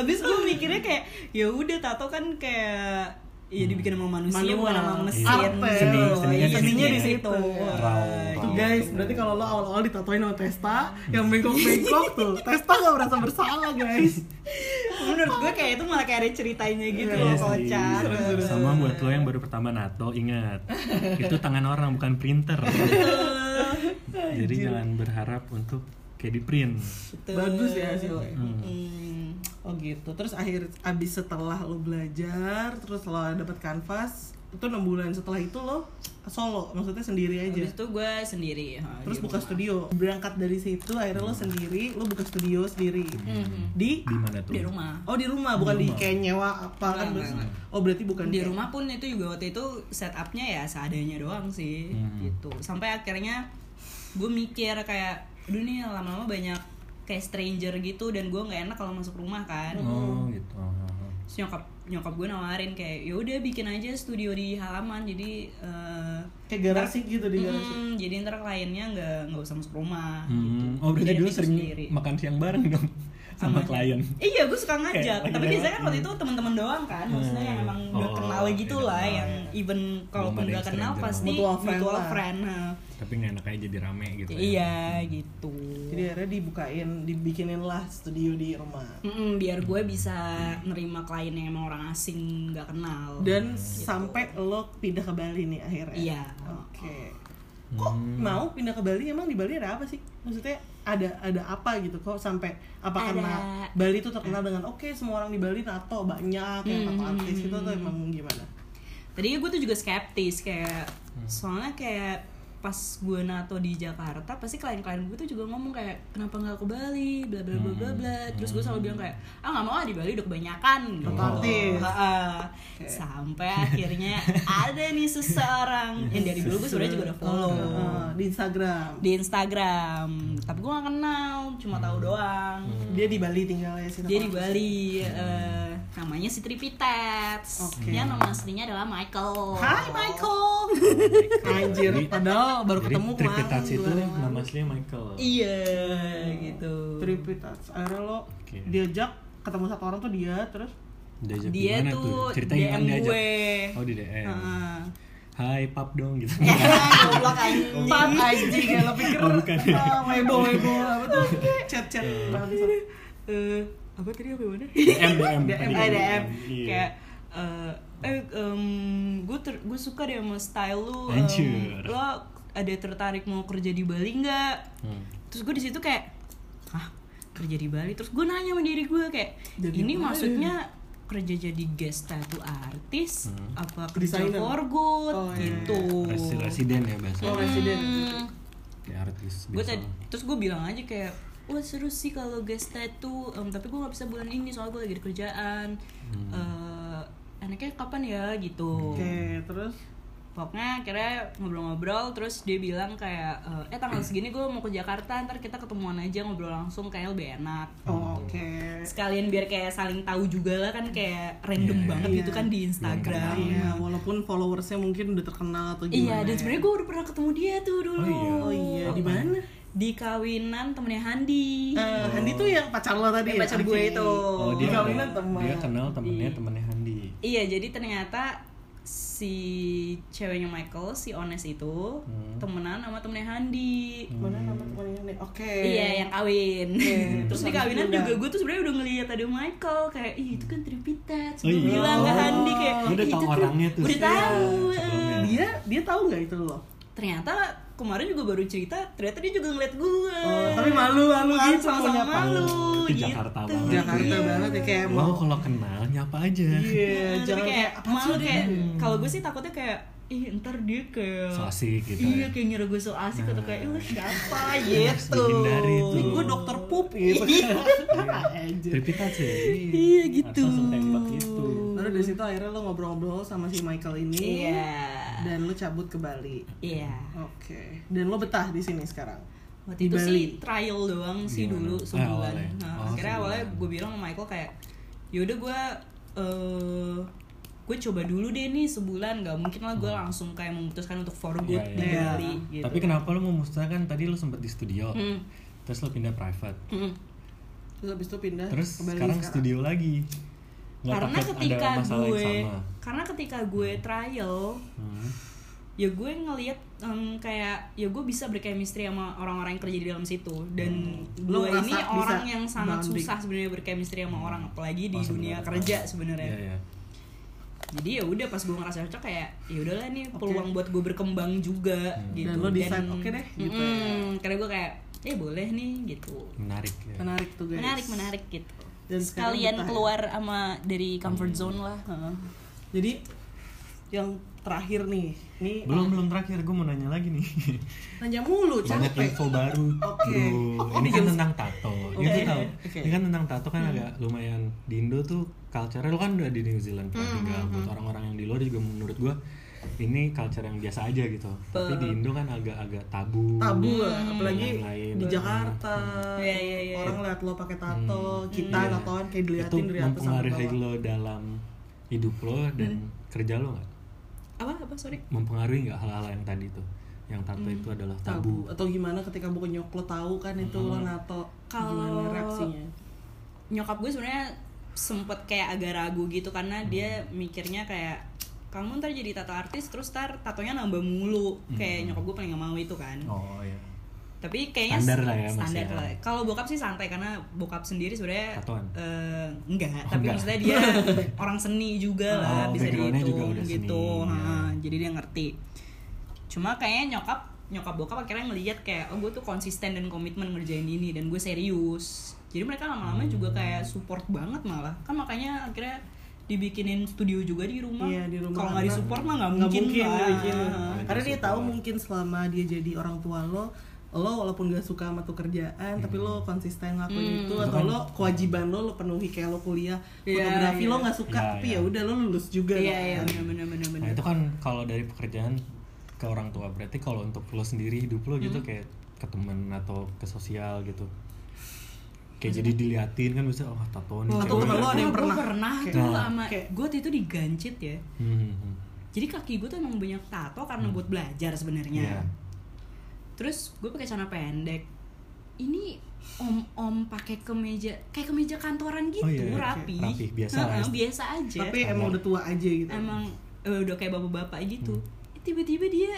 abis gue mikirnya kayak ya udah tato kan kayak ya dibikin sama manusia
Manual.
bukan sama mesin Iya.
Art ya. Seni-
seninya kan
seninya
seni
di
ya.
situ
Raw,
Wah,
raw.
Tuh
gitu.
guys, berarti kalau lo awal-awal ditatoin sama Testa, yang bengkok-bengkok tuh, Testa gak merasa bersalah guys.
menurut gue kayak itu malah kayak ada ceritanya gitu
Iya
loh
sih.
kocak
Sama buat lo yang baru pertama nato ingat itu tangan orang bukan printer. Jadi jangan berharap untuk kayak di print.
Betul.
Bagus ya hasilnya.
Hmm.
Oh gitu. Terus akhir abis setelah lo belajar, terus lo dapet kanvas, itu enam bulan setelah itu lo solo, maksudnya sendiri aja.
abis itu gue sendiri ha,
Terus
di
buka
rumah.
studio. Berangkat dari situ akhirnya lo sendiri, lo buka studio sendiri.
Hmm.
Di
Di mana tuh?
di rumah
Oh di rumah bukan di kayak nyewa apa kan
Enggak,
terus-
enggak,
Oh berarti bukan
di
kayak-
rumah pun itu juga waktu itu setupnya ya seadanya doang sih
Hmm.
gitu sampai akhirnya gue mikir kayak aduh nih lama-lama banyak kayak stranger gitu dan gue nggak enak kalau masuk rumah kan
Oh gitu.
Terus nyokap nyokap gue nawarin kayak yaudah bikin aja studio di halaman jadi eh,
kayak garasi gitu di garasi.
mm, jadi ntar kliennya nggak nggak usah masuk rumah
Hmm.
gitu
Oh berarti
Jadi
dulu
bikin
sering
sendiri.
makan siang bareng dong sama klien
Iya, gue suka ngajak.
Kayak
Tapi
lagi
biasanya kan
lewat,
waktu
hmm.
itu teman-teman doang kan, maksudnya yang emang udah
Oh,
kenal gitu
iya,
lah,
kenal,
yang
iya.
even kalaupun
ada yang
nggak kenal
stranger
pasti
banget. Mutual friend
mutual
lah.
friend. nah.
tapi nggak enak aja jadi rame gitu ya.
Iya gitu.
Jadi akhirnya dibukain, dibikinin lah studio di rumah.
Mm-mm, biar gue bisa nerima klien yang emang orang asing nggak kenal.
Dan sampai lo pindah ke Bali nih akhirnya.
Oh, gitu.
Oke.
Iya.
Hmm,
Kok mau pindah ke Bali? Emang di Bali ada apa sih? Maksudnya ada ada apa gitu? Kok sampai apa
Ada.
karena Bali tuh terkenal dengan oke semua orang di Bali tato banyak yang tato
Hmm.
artis itu tuh emang gimana?
Tadinya gue tuh juga skeptis kayak soalnya kayak pas gue nato di Jakarta pasti klien-klien gue tuh juga ngomong kayak kenapa nggak ke Bali bla bla bla bla bla terus gue selalu bilang kayak ah nggak mau ah di Bali udah kebanyakan gitu
Otomatis.
Ha-ha. sampai akhirnya ada nih seseorang yang dari dulu gue sebenarnya juga udah follow
Eh, di Instagram.
di Instagram tapi gue gak kenal cuma tahu doang
Dia di Bali ya, tinggalnya sih.
dia di Bali eh, namanya Sitri Pitets
Oke.
dia nama aslinya adalah Michael
Hai, Michael. Anjir,
Jadi-
padahal baru
jadi
ketemu kan? kemarin.
Tripitas itu
dua hari yang
nama
lalu.
aslinya Michael
Iya gitu.
Tripitas. Akhirnya lo
Oke.
diajak ketemu satu orang tuh dia terus
Diajak
Dia
gimana
tuh
Cerita
DM
gimana diajak?
gue.
Oh di DM.
Heeh. Iya.
Hai pap dong gitu.
Goblok anjing.
Pan anjing ya lo pikir
Oh, bukan. Hmm.
ah, Weibo Weibo apa tuh chat chat bangsa.
Eh, apa tadi apa mana?
DM DM.
DM,
Eh, DM.
Iya.
Kayak eh, eh gue gue suka deh sama style lu. em,
Anjir.
lo ada tertarik mau kerja di Bali nggak?
Hmm.
Terus gue di situ kayak, ah kerja di Bali. Terus gue nanya sama diri gue kayak, ini maksudnya kerja jadi guest tattoo artist apa kerja
Desainer.
for good
Oh, iya.
gitu.
Hmm. Resi- Residen ya bahasa.
Hmm.
Oh residen.
Kayak artis.
gue
biasa.
tadi terus gue bilang aja kayak wah seru sih kalau guest tattoo Em, tapi gue nggak bisa bulan ini soalnya gue lagi di kerjaan
Hmm.
Eh, enaknya kapan ya gitu
Oke terus
pokoknya akhirnya ngobrol-ngobrol terus dia bilang kayak eh tanggal segini gue mau ke Jakarta ntar kita ketemuan aja ngobrol langsung kayak lebih enak
oh, oke.
sekalian biar kayak saling tahu juga lah kan kayak random banget
iya.
gitu kan di Instagram
ya.
Iya walaupun followersnya mungkin udah terkenal atau
ya. iya
gimana. ya.
dan sebenarnya gue udah pernah ketemu dia tuh dulu
Oh iya di mana?
di kawinan temennya Handi
Eh, Handi tuh yang pacar lo tadi ya?
Yang pacar
Adiknya.
gue itu.
Oh dia
Dikawinan
kenal-
teman.
Dia kan kenal temennya temennya Handi.
Iya, jadi ternyata si ceweknya Michael, si Ones itu
Hmm.
temenan sama temennya Handi.
Mana nama temannya Handi? Oke.
Iya, yang kawin. Terus di
Terus
kawinan
habis
juga gue tuh sebenarnya udah ngeliat ada Michael kayak ih itu kan tripitat.
Oh,
Gue
iya.
bilang ke Handi kayak
Lu udah
"Ih,
tahu
itu Tri-
orangnya tuh Iya.
Udah
sih.
tahu. Iya,
Sebelumnya.
Dia dia tahu nggak itu lo?
Ternyata kemarin juga baru cerita, ternyata dia juga ngeliat gue.
Oh, tapi malu-malu gitu,
sama-sama
punya
malu.
Itu
gitu.
Jakarta banget.
Jakarta
Iya.
banget ya kayak
Lo kalau kenal nyapa aja.
Iya,
Nah,
jangan
tapi kayak
kayak apa sih
malu
dia?
kayak kalau gue sih takutnya kayak ih ntar dia kayak
So asik gitu ya.
iya kayak ngira gue so asik atau kayak "Ih, lu siapa
Harus
gitu
dihindari itu.
Nih gue dokter pup gitu. Anjir.
Tripitas ya.
Iya, gitu.
Langsung tembak gitu.
Lalu dari situ akhirnya lo ngobrol-ngobrol sama si Michael ini.
iya
Dan lo cabut ke Bali.
iya
Oke. Dan lo betah di sini sekarang.
waktu
Di
itu
Bali.
sih trial doang sih
Gimana?
dulu
Ah,
sebulan
awalnya.
nah,
Oh,
akhirnya
sebulan.
awalnya gue bilang sama Michael kayak yaudah gue eh gue coba dulu deh nih sebulan nggak mungkin lah gue langsung kayak memutuskan untuk for good
Hmm. Iya,
di
iya.
Bali gitu
Tapi kenapa lo mau kan tadi lo sempet di studio.
Hmm.
Terus lo pindah private.
Mm.
Terus abis itu pindah
Terus
ke Bali
sekarang studio lagi. Nggak
karena
takut
ketika
ada masalah
gue
yang sama.
karena ketika gue trial
Hmm.
ya gue ngelihat em, kayak ya gue bisa berchemistry sama orang-orang yang kerja di dalam situ dan
Hmm.
Lo
gue
ngerasa
ini
bisa
orang yang sangat
bonding.
susah sebenarnya berchemistry sama orang apalagi di
Oh,
dunia
sebenarnya.
kerja sebenarnya
Iya, iya.
jadi ya udah pas gue ngerasa cocok kayak ya udahlah nih peluang buat gue berkembang juga gitu
Dan lo decide, oke deh, gitu ya.
mm-mm, karena gue kayak eh boleh nih gitu
Menarik ya.
Menarik tuh guys.
menarik menarik gitu
Dan sekarang
sekalian
betah ya?
keluar sama dari comfort zone lah
Heeh. Jadi yang terakhir nih, ini
Belum
Ah.
belum terakhir gue mau nanya lagi nih.
nanya mulu
Banyak
capek.
info baru.
Oke.
Bro. Ini kan tentang tato. Ini
Oke.
tuh tahu.
Oke.
Ini kan tentang tato kan agak lumayan di Indo tuh culture lo kan udah di New Zealand
Hmm,
kan tinggal. Buat orang-orang yang di luar juga menurut gue ini culture yang biasa aja gitu. Tapi di Indo kan agak-agak tabu.
Tabu lah, apalagi
Yang lain.
di Jakarta.
Hmm. Iya, iya, iya.
Orang lihat lo pakai tato, kita tatoan kayak
Hmm. Itu
diliatin dari atas sampai
mempengaruhi
bawah. Hmm.
lo dalam hidup lo dan kerja lo nggak?
apa apa sorry
mempengaruhi nggak hal-hal yang tadi tuh yang tato
Hmm.
itu adalah tabu Hmm.
tabu atau gimana ketika buku nyoklo tahu kan itu lo nato gimana
Kalau-
reaksinya
nyokap gue sebenarnya sempet kayak agak ragu gitu karena dia mikirnya kayak kamu ntar jadi tato artis terus ntar tatonya nambah mulu kayak nyokap gue paling gak mau itu kan
oh iya
tapi kayaknya
Standar
s-
lah ya, masih
standar
ya.
lah. kalau bokap sih santai karena bokap sendiri sebenarnya
Tatoan? Oh,
eh, enggak tapi
enggak.
maksudnya dia orang seni juga
Oh,
lah bisa
backgroundnya
dihitung
juga udah seni,
gitu
ya.
Ha, jadi dia ngerti cuma kayaknya nyokap nyokap bokap akhirnya ngeliat kayak oh gue tuh konsisten dan komitmen ngerjain ini dan gue serius jadi mereka lama-lama juga
Hmm.
kayak support banget malah kan makanya akhirnya dibikinin studio juga di rumah,
Iya, di rumah.
kalau nggak
Karena
disupport mah nggak
nggak
mungkin,
mungkin
lah. iya.
dibikinin. karena dia
Support.
tahu mungkin selama dia jadi orang tua lo lo walaupun gak suka sama tuh kerjaan tapi lo konsisten ngelakuin itu atau lo kewajiban lo lo penuhi kayak lo kuliah
Hmm. Iya,
fotografi
iya.
lo nggak suka
Iya,
tapi
iya.
ya udah lo lulus juga
iya
kan.
iya benar benar
nah
benar
itu kan kalau dari pekerjaan ke orang tua berarti kalau untuk lo sendiri hidup lo gitu kayak ke temen atau ke sosial gitu kayak jadi diliatin kan bisa oh tato nih
Oh,
cewek.
tato temen lo ada yang
Gua
pernah?
pernah
Kayak-
tuh
Nah.
sama
Kayak-
gue itu digancit ya
Hmm, hmm, hmm.
jadi kaki gue tuh emang banyak tato karena buat belajar sebenarnya
Iya.
terus gue pakai celana pendek ini om om pakai kemeja kayak kemeja kantoran gitu
Oh, iya, iya.
rapi
Rapi, biasa ya.
Heeh,
aja.
biasa aja
tapi emang udah tua aja gitu
Iya. emang eh, udah kayak bapak-bapak gitu Eh, tiba-tiba dia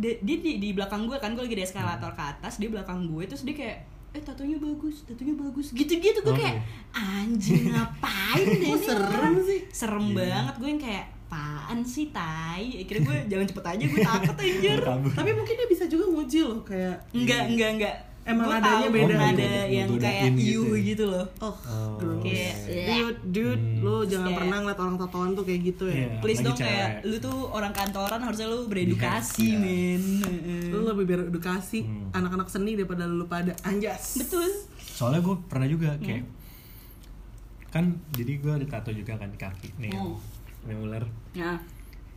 dia, dia di, di belakang gue kan gue lagi di eskalator ke atas dia belakang gue terus dia kayak eh tatonya bagus tatonya bagus gitu-gitu gue
Oh.
kayak anjing ngapain deh
Kok
ini
serem
orang?"
sih
serem banget gue yang kayak apaan sih tai akhirnya gue jalan cepet aja gue takut anjir
Kabur.
tapi mungkin dia bisa juga nguji loh kayak
enggak enggak enggak
Emang
Gue
nadanya
tahu
beda.
nada
Oh,
yang
godain
kayak
gitu
you
ya.
gitu loh
oh,
Oh,
gross.
Kayak,
dude dude lo jangan
Kayak-
pernah ngeliat orang tatoan tuh kayak gitu ya
Iya.
Oh, please
apalagi
dong kayak
cewek.
lu tuh orang kantoran harusnya lu beredukasi
Iya.
men Heeh.
lu lebih beredukasi anak-anak seni daripada lu pada anjas
betul
soalnya gue pernah juga kayak kan jadi gue ada tato juga kan di kaki nih
Hmm.
nih ular
nah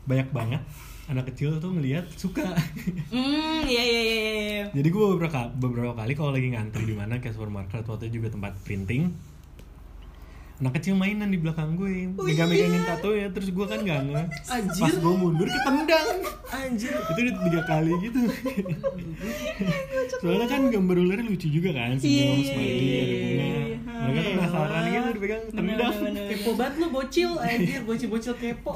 banyak banget anak kecil tuh ngelihat suka
Hmm, iya iya iya iya.
jadi gue beberapa ka- beberapa kali kalau lagi ngantri di mana kayak supermarket atau juga tempat printing anak kecil mainan di belakang gue
Oh
megang-megangin
iya.
tato ya terus gue kan gak nge
Anjir.
pas gue mundur ketendang
anjir
itu udah tiga kali gitu soalnya kan gambar ularnya lucu juga kan senyum
Iya,
smiley
iya,
ada bunga
iya.
mereka tuh penasaran gitu dipegang tendang
kepo banget lu bocil anjir bocil-bocil kepo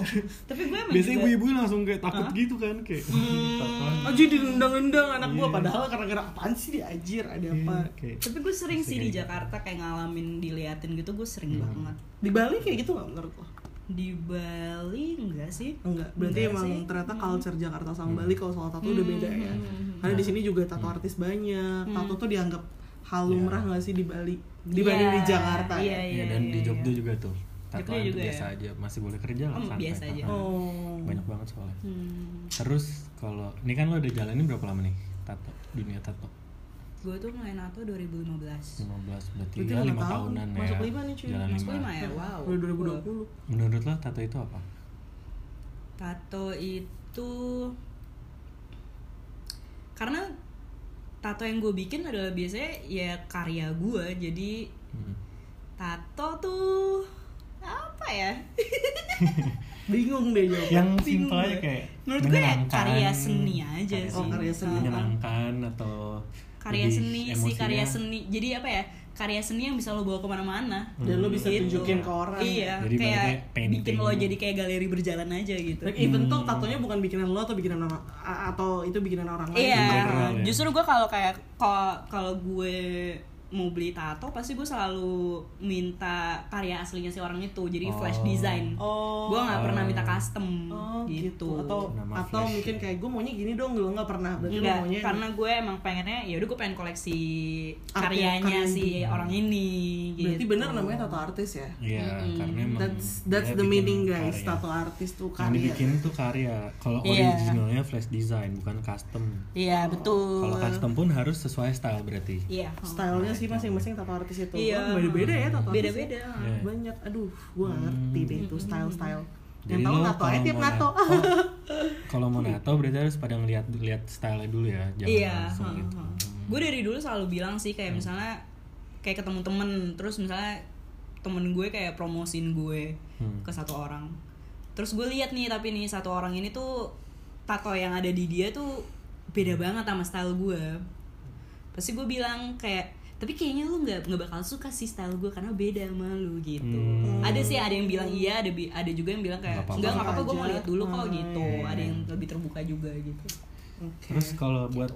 Tapi gue emang
biasanya
juga-
ibu-ibu langsung kayak takut gitu kan kayak
Hmm. Oh,
"Apaan?"
aja direndang-rendang anak gua padahal gara-gara apaan sih dia anjir ada
Iya,
apa
kayak
Tapi gue sering sih di Jakarta kayak ngalamin diliatin gitu gue
Hmm.
sering banget.
di Bali kayak gitu nggak menurut lo
Di Bali enggak sih?
enggak berarti
Enggak
emang
sih. Hmm.
ternyata culture Jakarta
Hmm.
sama Bali kalau soal tato udah beda ya karena
Nah.
di sini juga
Iya.
tato artis banyak
Hmm.
tato tuh dianggap hal lumrah nggak sih di Bali dibanding di
Iya,
Jakarta
Iya
ya
Iya,
iya.
dan
iya,
di
iya.
Jogja juga tuh tatoan
Jogja
tuh
juga
biasa
ya?
aja masih boleh kerja lah
Oh,
santai,
biasa aja.
tatoan.
oh
banyak banget soalnya
Hmm,
terus kalau ini kan lo udah jalanin berapa lama nih tato dunia tato
gue tuh mulai nato 2015.
15 berarti
Berarti
ya 5
lima tahun.
tahunan ya
Masuk lima nih, cuy.
jalan
Masuk
5
lima ya, wow.
udah 2020
menurut lo tato itu apa?
Tato itu karena tato yang gue bikin adalah biasanya ya karya gue jadi
Hmm.
tato tuh apa ya
bingung deh jawab
yang
Bingung
simpel aja
gue.
kayak
Menurut gue ya
menyenangkan,
karya seni aja sih.
Oh, karya seni.
menyenangkan atau
karya
lebih
seni sih
emosinya.
karya seni jadi apa ya karya seni yang bisa lo bawa kemana-mana
dan lo bisa
Gitu.
tunjukin ke orang
iya
Jadi
kayak
ibaratnya painting.
bikin lo jadi kayak galeri berjalan aja gitu
Dan even
Hmm.
tuh tatonya bukan bikinan lo atau bikinan orang a- atau itu bikinan orang lain. Gitu.
iya
General ya.
justru gue kalau kayak kalau kalau gue mau beli tato pasti gue selalu minta karya aslinya si orang itu jadi flash
Oh.
design
Oh.
gue nggak pernah minta custom
Oh, gitu.
gitu.
Atau
Nama
atau
flash.
mungkin kayak gue maunya gini dong, lo nggak pernah. Berarti lo
Enggak,
maunya
Iya, karena gue emang pengennya ya udah gue pengen koleksi
Art- ya, karya
karyanya si orang ini gitu.
berarti bener namanya tato artis ya.
Iya, karena emang
That's that's
dia
the
bikin
meaning guys.
karya.
Tato artis tuh
Yang
karya.
dibikin tuh karya. Kalau
Iya.
originalnya flash design bukan custom.
Iya, betul.
Kalau custom pun harus sesuai style berarti.
Iya.
Stylenya
Nah,
sih masing-masing tato artis itu.
Iya.
Wah, Beda-beda ya tato artis.
Beda-beda. Hmm.
Iya.
Banyak. Aduh, gue ngerti deh itu style-style. Yang
Jadi
tahu
lo
tato
kalau
aja tiap
mau
nato. Ah.
nato, Oh, Kalau mau nato berarti harus pada ngeliat lihat stylenya dulu ya, jangan
Iya.
langsung gitu. Hmm.
Gue dari dulu selalu bilang sih kayak misalnya kayak ketemu temen terus misalnya temen gue kayak promosin gue
Hmm.
ke satu orang. Terus gue lihat nih tapi nih satu orang ini tuh tato yang
Hmm.
ada di dia tuh beda banget sama style gue. Pasti gue bilang kayak tapi kayaknya lu nggak nggak bakal suka sih style gue karena beda sama lu gitu ada sih ada yang bilang iya ada bi- ada juga yang bilang kayak
Hmm. Nggak apa-apa.
enggak nggak apa-apa gue mau
Aja.
lihat dulu kok
Hmm.
gitu ada yang lebih terbuka juga gitu
Oke.
Terus kalau buat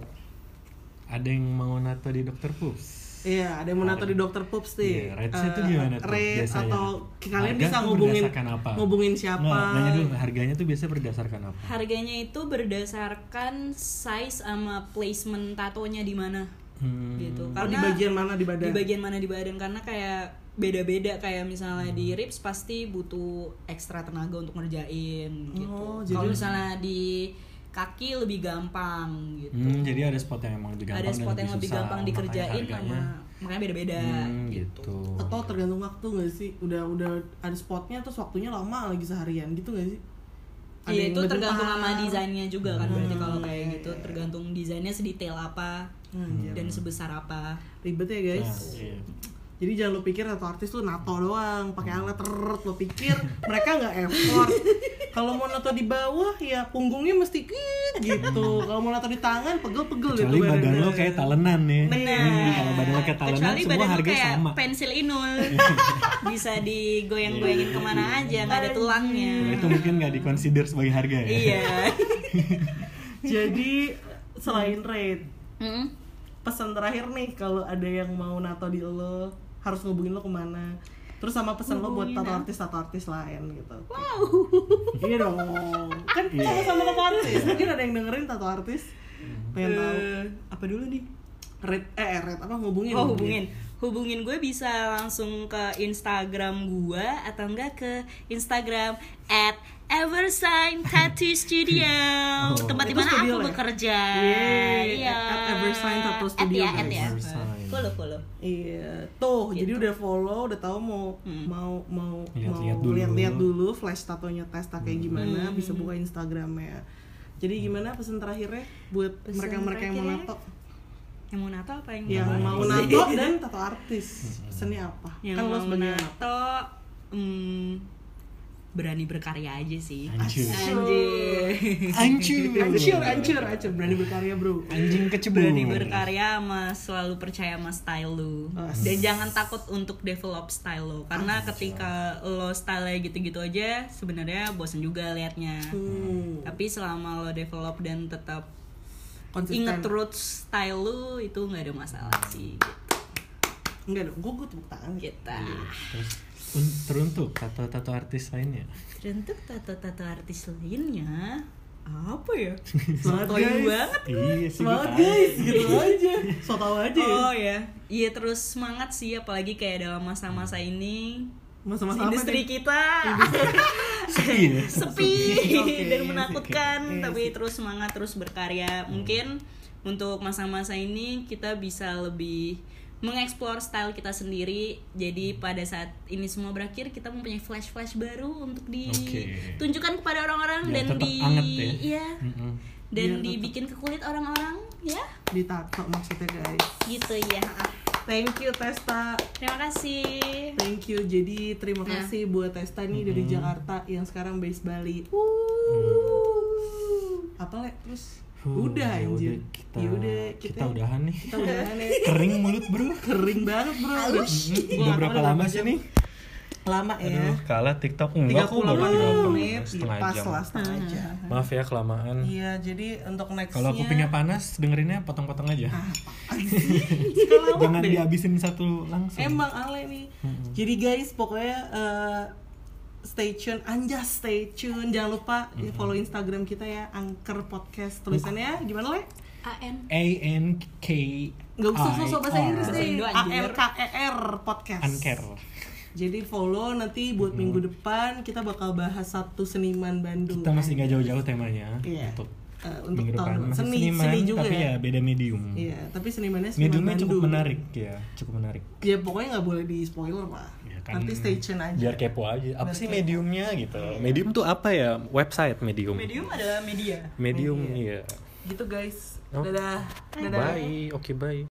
ada yang mau nato di Dr. Pups.
Iya, ada yang mau nato di Dokter Pups sih.
Iya, rates-nya
Eh,
tuh gimana tuh
rate
biasanya?
atau kalian
Harga
bisa
tuh
ngubungin
berdasarkan apa?
ngubungin siapa?
Nggak, nanya dulu harganya tuh biasanya berdasarkan apa?
harganya itu berdasarkan size sama placement tatonya di mana
Hmm.
gitu
Oh, di
karena
bagian mana di badan?
di bagian mana di badan karena kayak beda-beda kayak misalnya
Hmm.
di ribs pasti butuh ekstra tenaga untuk ngerjain gitu.
Oh,
Kalau
jadi-
misalnya di kaki lebih gampang gitu.
Hmm, jadi ada spot yang emang lebih gampang
Ada spot
dan
yang lebih
susah,
gampang
makanya
dikerjain
harganya.
sama makanya beda-beda
Hmm,
gitu.
gitu.
Atau tergantung waktu nggak sih? Udah udah ada spotnya terus waktunya lama lagi seharian gitu nggak sih? Ada
Iya
yang Hmm.
itu
bentar.
tergantung sama desainnya juga kan berarti kalau kayak gitu tergantung desainnya sedetail apa
Hmm, iya.
dan sebesar apa.
Ribet ya guys.
Nah, iya.
Jadi jangan lo pikir tato artis tuh nato doang, pakai alat terus lo pikir mereka nggak effort. Kalau mau nato di bawah ya punggungnya mesti "Kit," gitu. Kalau mau nato di tangan pegel-pegel
Kecuali badan
badannya.
lo kayak talenan nih.
Bener.
Hmm, kalau badan lo kayak talenan
Kecuali
semua
badan lu
harganya
kayak
sama.
pensil inul bisa digoyang-goyangin kemana aja nggak ada tulangnya.
Nah, itu mungkin nggak dikonsider sebagai harga ya.
Iya.
Jadi selain rate,
Mm-mm.
pesan terakhir nih kalau ada yang mau nato di lo harus ngubungin lo kemana? Terus sama pesan lo buat
Ngubungin
tato
apa?
artis tato artis lain gitu. Wow. Iya dong. Kan
Iya.
sama-sama tato artis. Mungkin ada yang dengerin tato artis.
Hmm.
Pengen tahu
Eh, apa dulu nih?
rate eh rate apa ngubungin?
Oh hubungin, hubungin gue bisa langsung ke Instagram gue atau enggak ke Instagram at Eversign Tattoo Studio tempat
Itu
di mana
Oh. studio
aku
lah ya?
bekerja.
Yeay,
Iya.
at Eversign Tattoo
At
Studio,
ya, at
guys.
ya.
Eversign.
Follow follow.
Iya, tuh jadi udah follow, udah tahu mau
Hmm.
mau mau
Lihat-lihat
mau
dulu. Hmm.
lihat-lihat dulu flash tatonya testa kayak gimana,
Hmm.
bisa buka Instagramnya. Jadi gimana pesan terakhirnya buat
Pesan
mereka-mereka yang mau
terakhirnya?
nato,
Yang mau nato apa yang
yang
nggak
mau nato dan tato
Hmm.
artis, seni apa?
Yang
kan lo
mau
sebagai
nato, mm, berani berkarya aja sih.
Anjir.
Anjir.
Anjir.
Ancur, ancur, ancur, berani berkarya bro.
Hmm.
Anjing kecebur.
berani berkarya sama selalu percaya sama style lu
Asik.
dan jangan takut untuk develop style lu karena ketika lo style gitu-gitu aja sebenarnya bosen juga liatnya
Hmm,
tapi selama lo develop dan tetap
konsisten.
inget roots style lu itu nggak ada masalah sih gitu
Enggak dong, gue gue tepuk tangan.
kita
Iya.
Terus un- teruntuk tato-tato artis lainnya.
untuk tato-tato artis lainnya apa ya
Semangat,
Sotoy
guys.
banget
Iya sih. gua
Semangat
tahu.
guys, gitu aja. So tau aja. ya.
oh ya iya terus semangat sih apalagi kayak dalam masa-masa ini
Masa-masa apa
industri
nih?
kita
Sepi ya.
sepi
Oke,
dan
oke.
menakutkan
Iya
tapi terus semangat terus
Hmm.
berkarya mungkin untuk masa-masa ini kita bisa lebih mengeksplor style kita sendiri jadi
Hmm.
pada saat ini semua berakhir kita mempunyai flash flash baru untuk
Oke.
ditunjukkan kepada orang-orang
Biar
dan
tetap
di
anget ya.
iya,
Mm-mm.
dan dibikin ke kulit orang-orang ya
Ditato maksudnya guys.
gitu ya
Thank you Testa. Ya.
terima kasih
Thank you. Jadi terima kasih buat Testa nih dari
Mm-hmm.
Jakarta yang sekarang base Bali. Wuh. Apa Le? Terus
Huh,
udah
ya
anjir.
udah, Kita,
Ya udah
kita, udahan nih.
Kita udahan ya.
Kering mulut, Bro.
Kering banget, Bro. Udah, Iya,
Udah berapa lama sih nih?
Lama ya.
Aduh, kalah TikTok enggak kok
30
baru 30
menit.
setengah
Pas
jam.
lah setengah jam.
Maaf ya kelamaan.
Iya, jadi untuk nextnya
Kalau kupingnya panas, dengerinnya potong-potong aja.
Ah. Kalau
Jangan dihabisin satu langsung.
Emang Ale nih. Jadi guys, pokoknya eh, stay tune, anjas stay tune. Jangan lupa di follow Instagram kita ya, Angker Podcast tulisannya gimana Le?
an
A N K
Nggak usah sosok bahasa
Oh,
Inggris
Bahasa
deh.
Indo,
A
anjir.
R K E R Podcast.
Anker.
Jadi follow nanti buat minggu depan kita bakal bahas satu seniman Bandung.
Kita masih nggak jauh-jauh temanya
Iya.
untuk
Eh, untuk
minggu
tahun
depan. Masih
seni,
seniman,
seni juga
tapi ya
ya.
beda medium.
Iya, tapi senimannya seniman
Mediumnya
Bandung.
cukup menarik ya, cukup menarik.
Ya pokoknya nggak boleh di spoiler lah.
Ya kan,
nanti stay tune aja.
Biar kepo aja. Apa
Biar
sih
kepo. Iya.
mediumnya gitu? Medium tuh apa ya? Website medium.
medium adalah media
Medium, iya.
Gitu guys.
Oh.
Dadah. Dadah.
Bye. Oke, bye.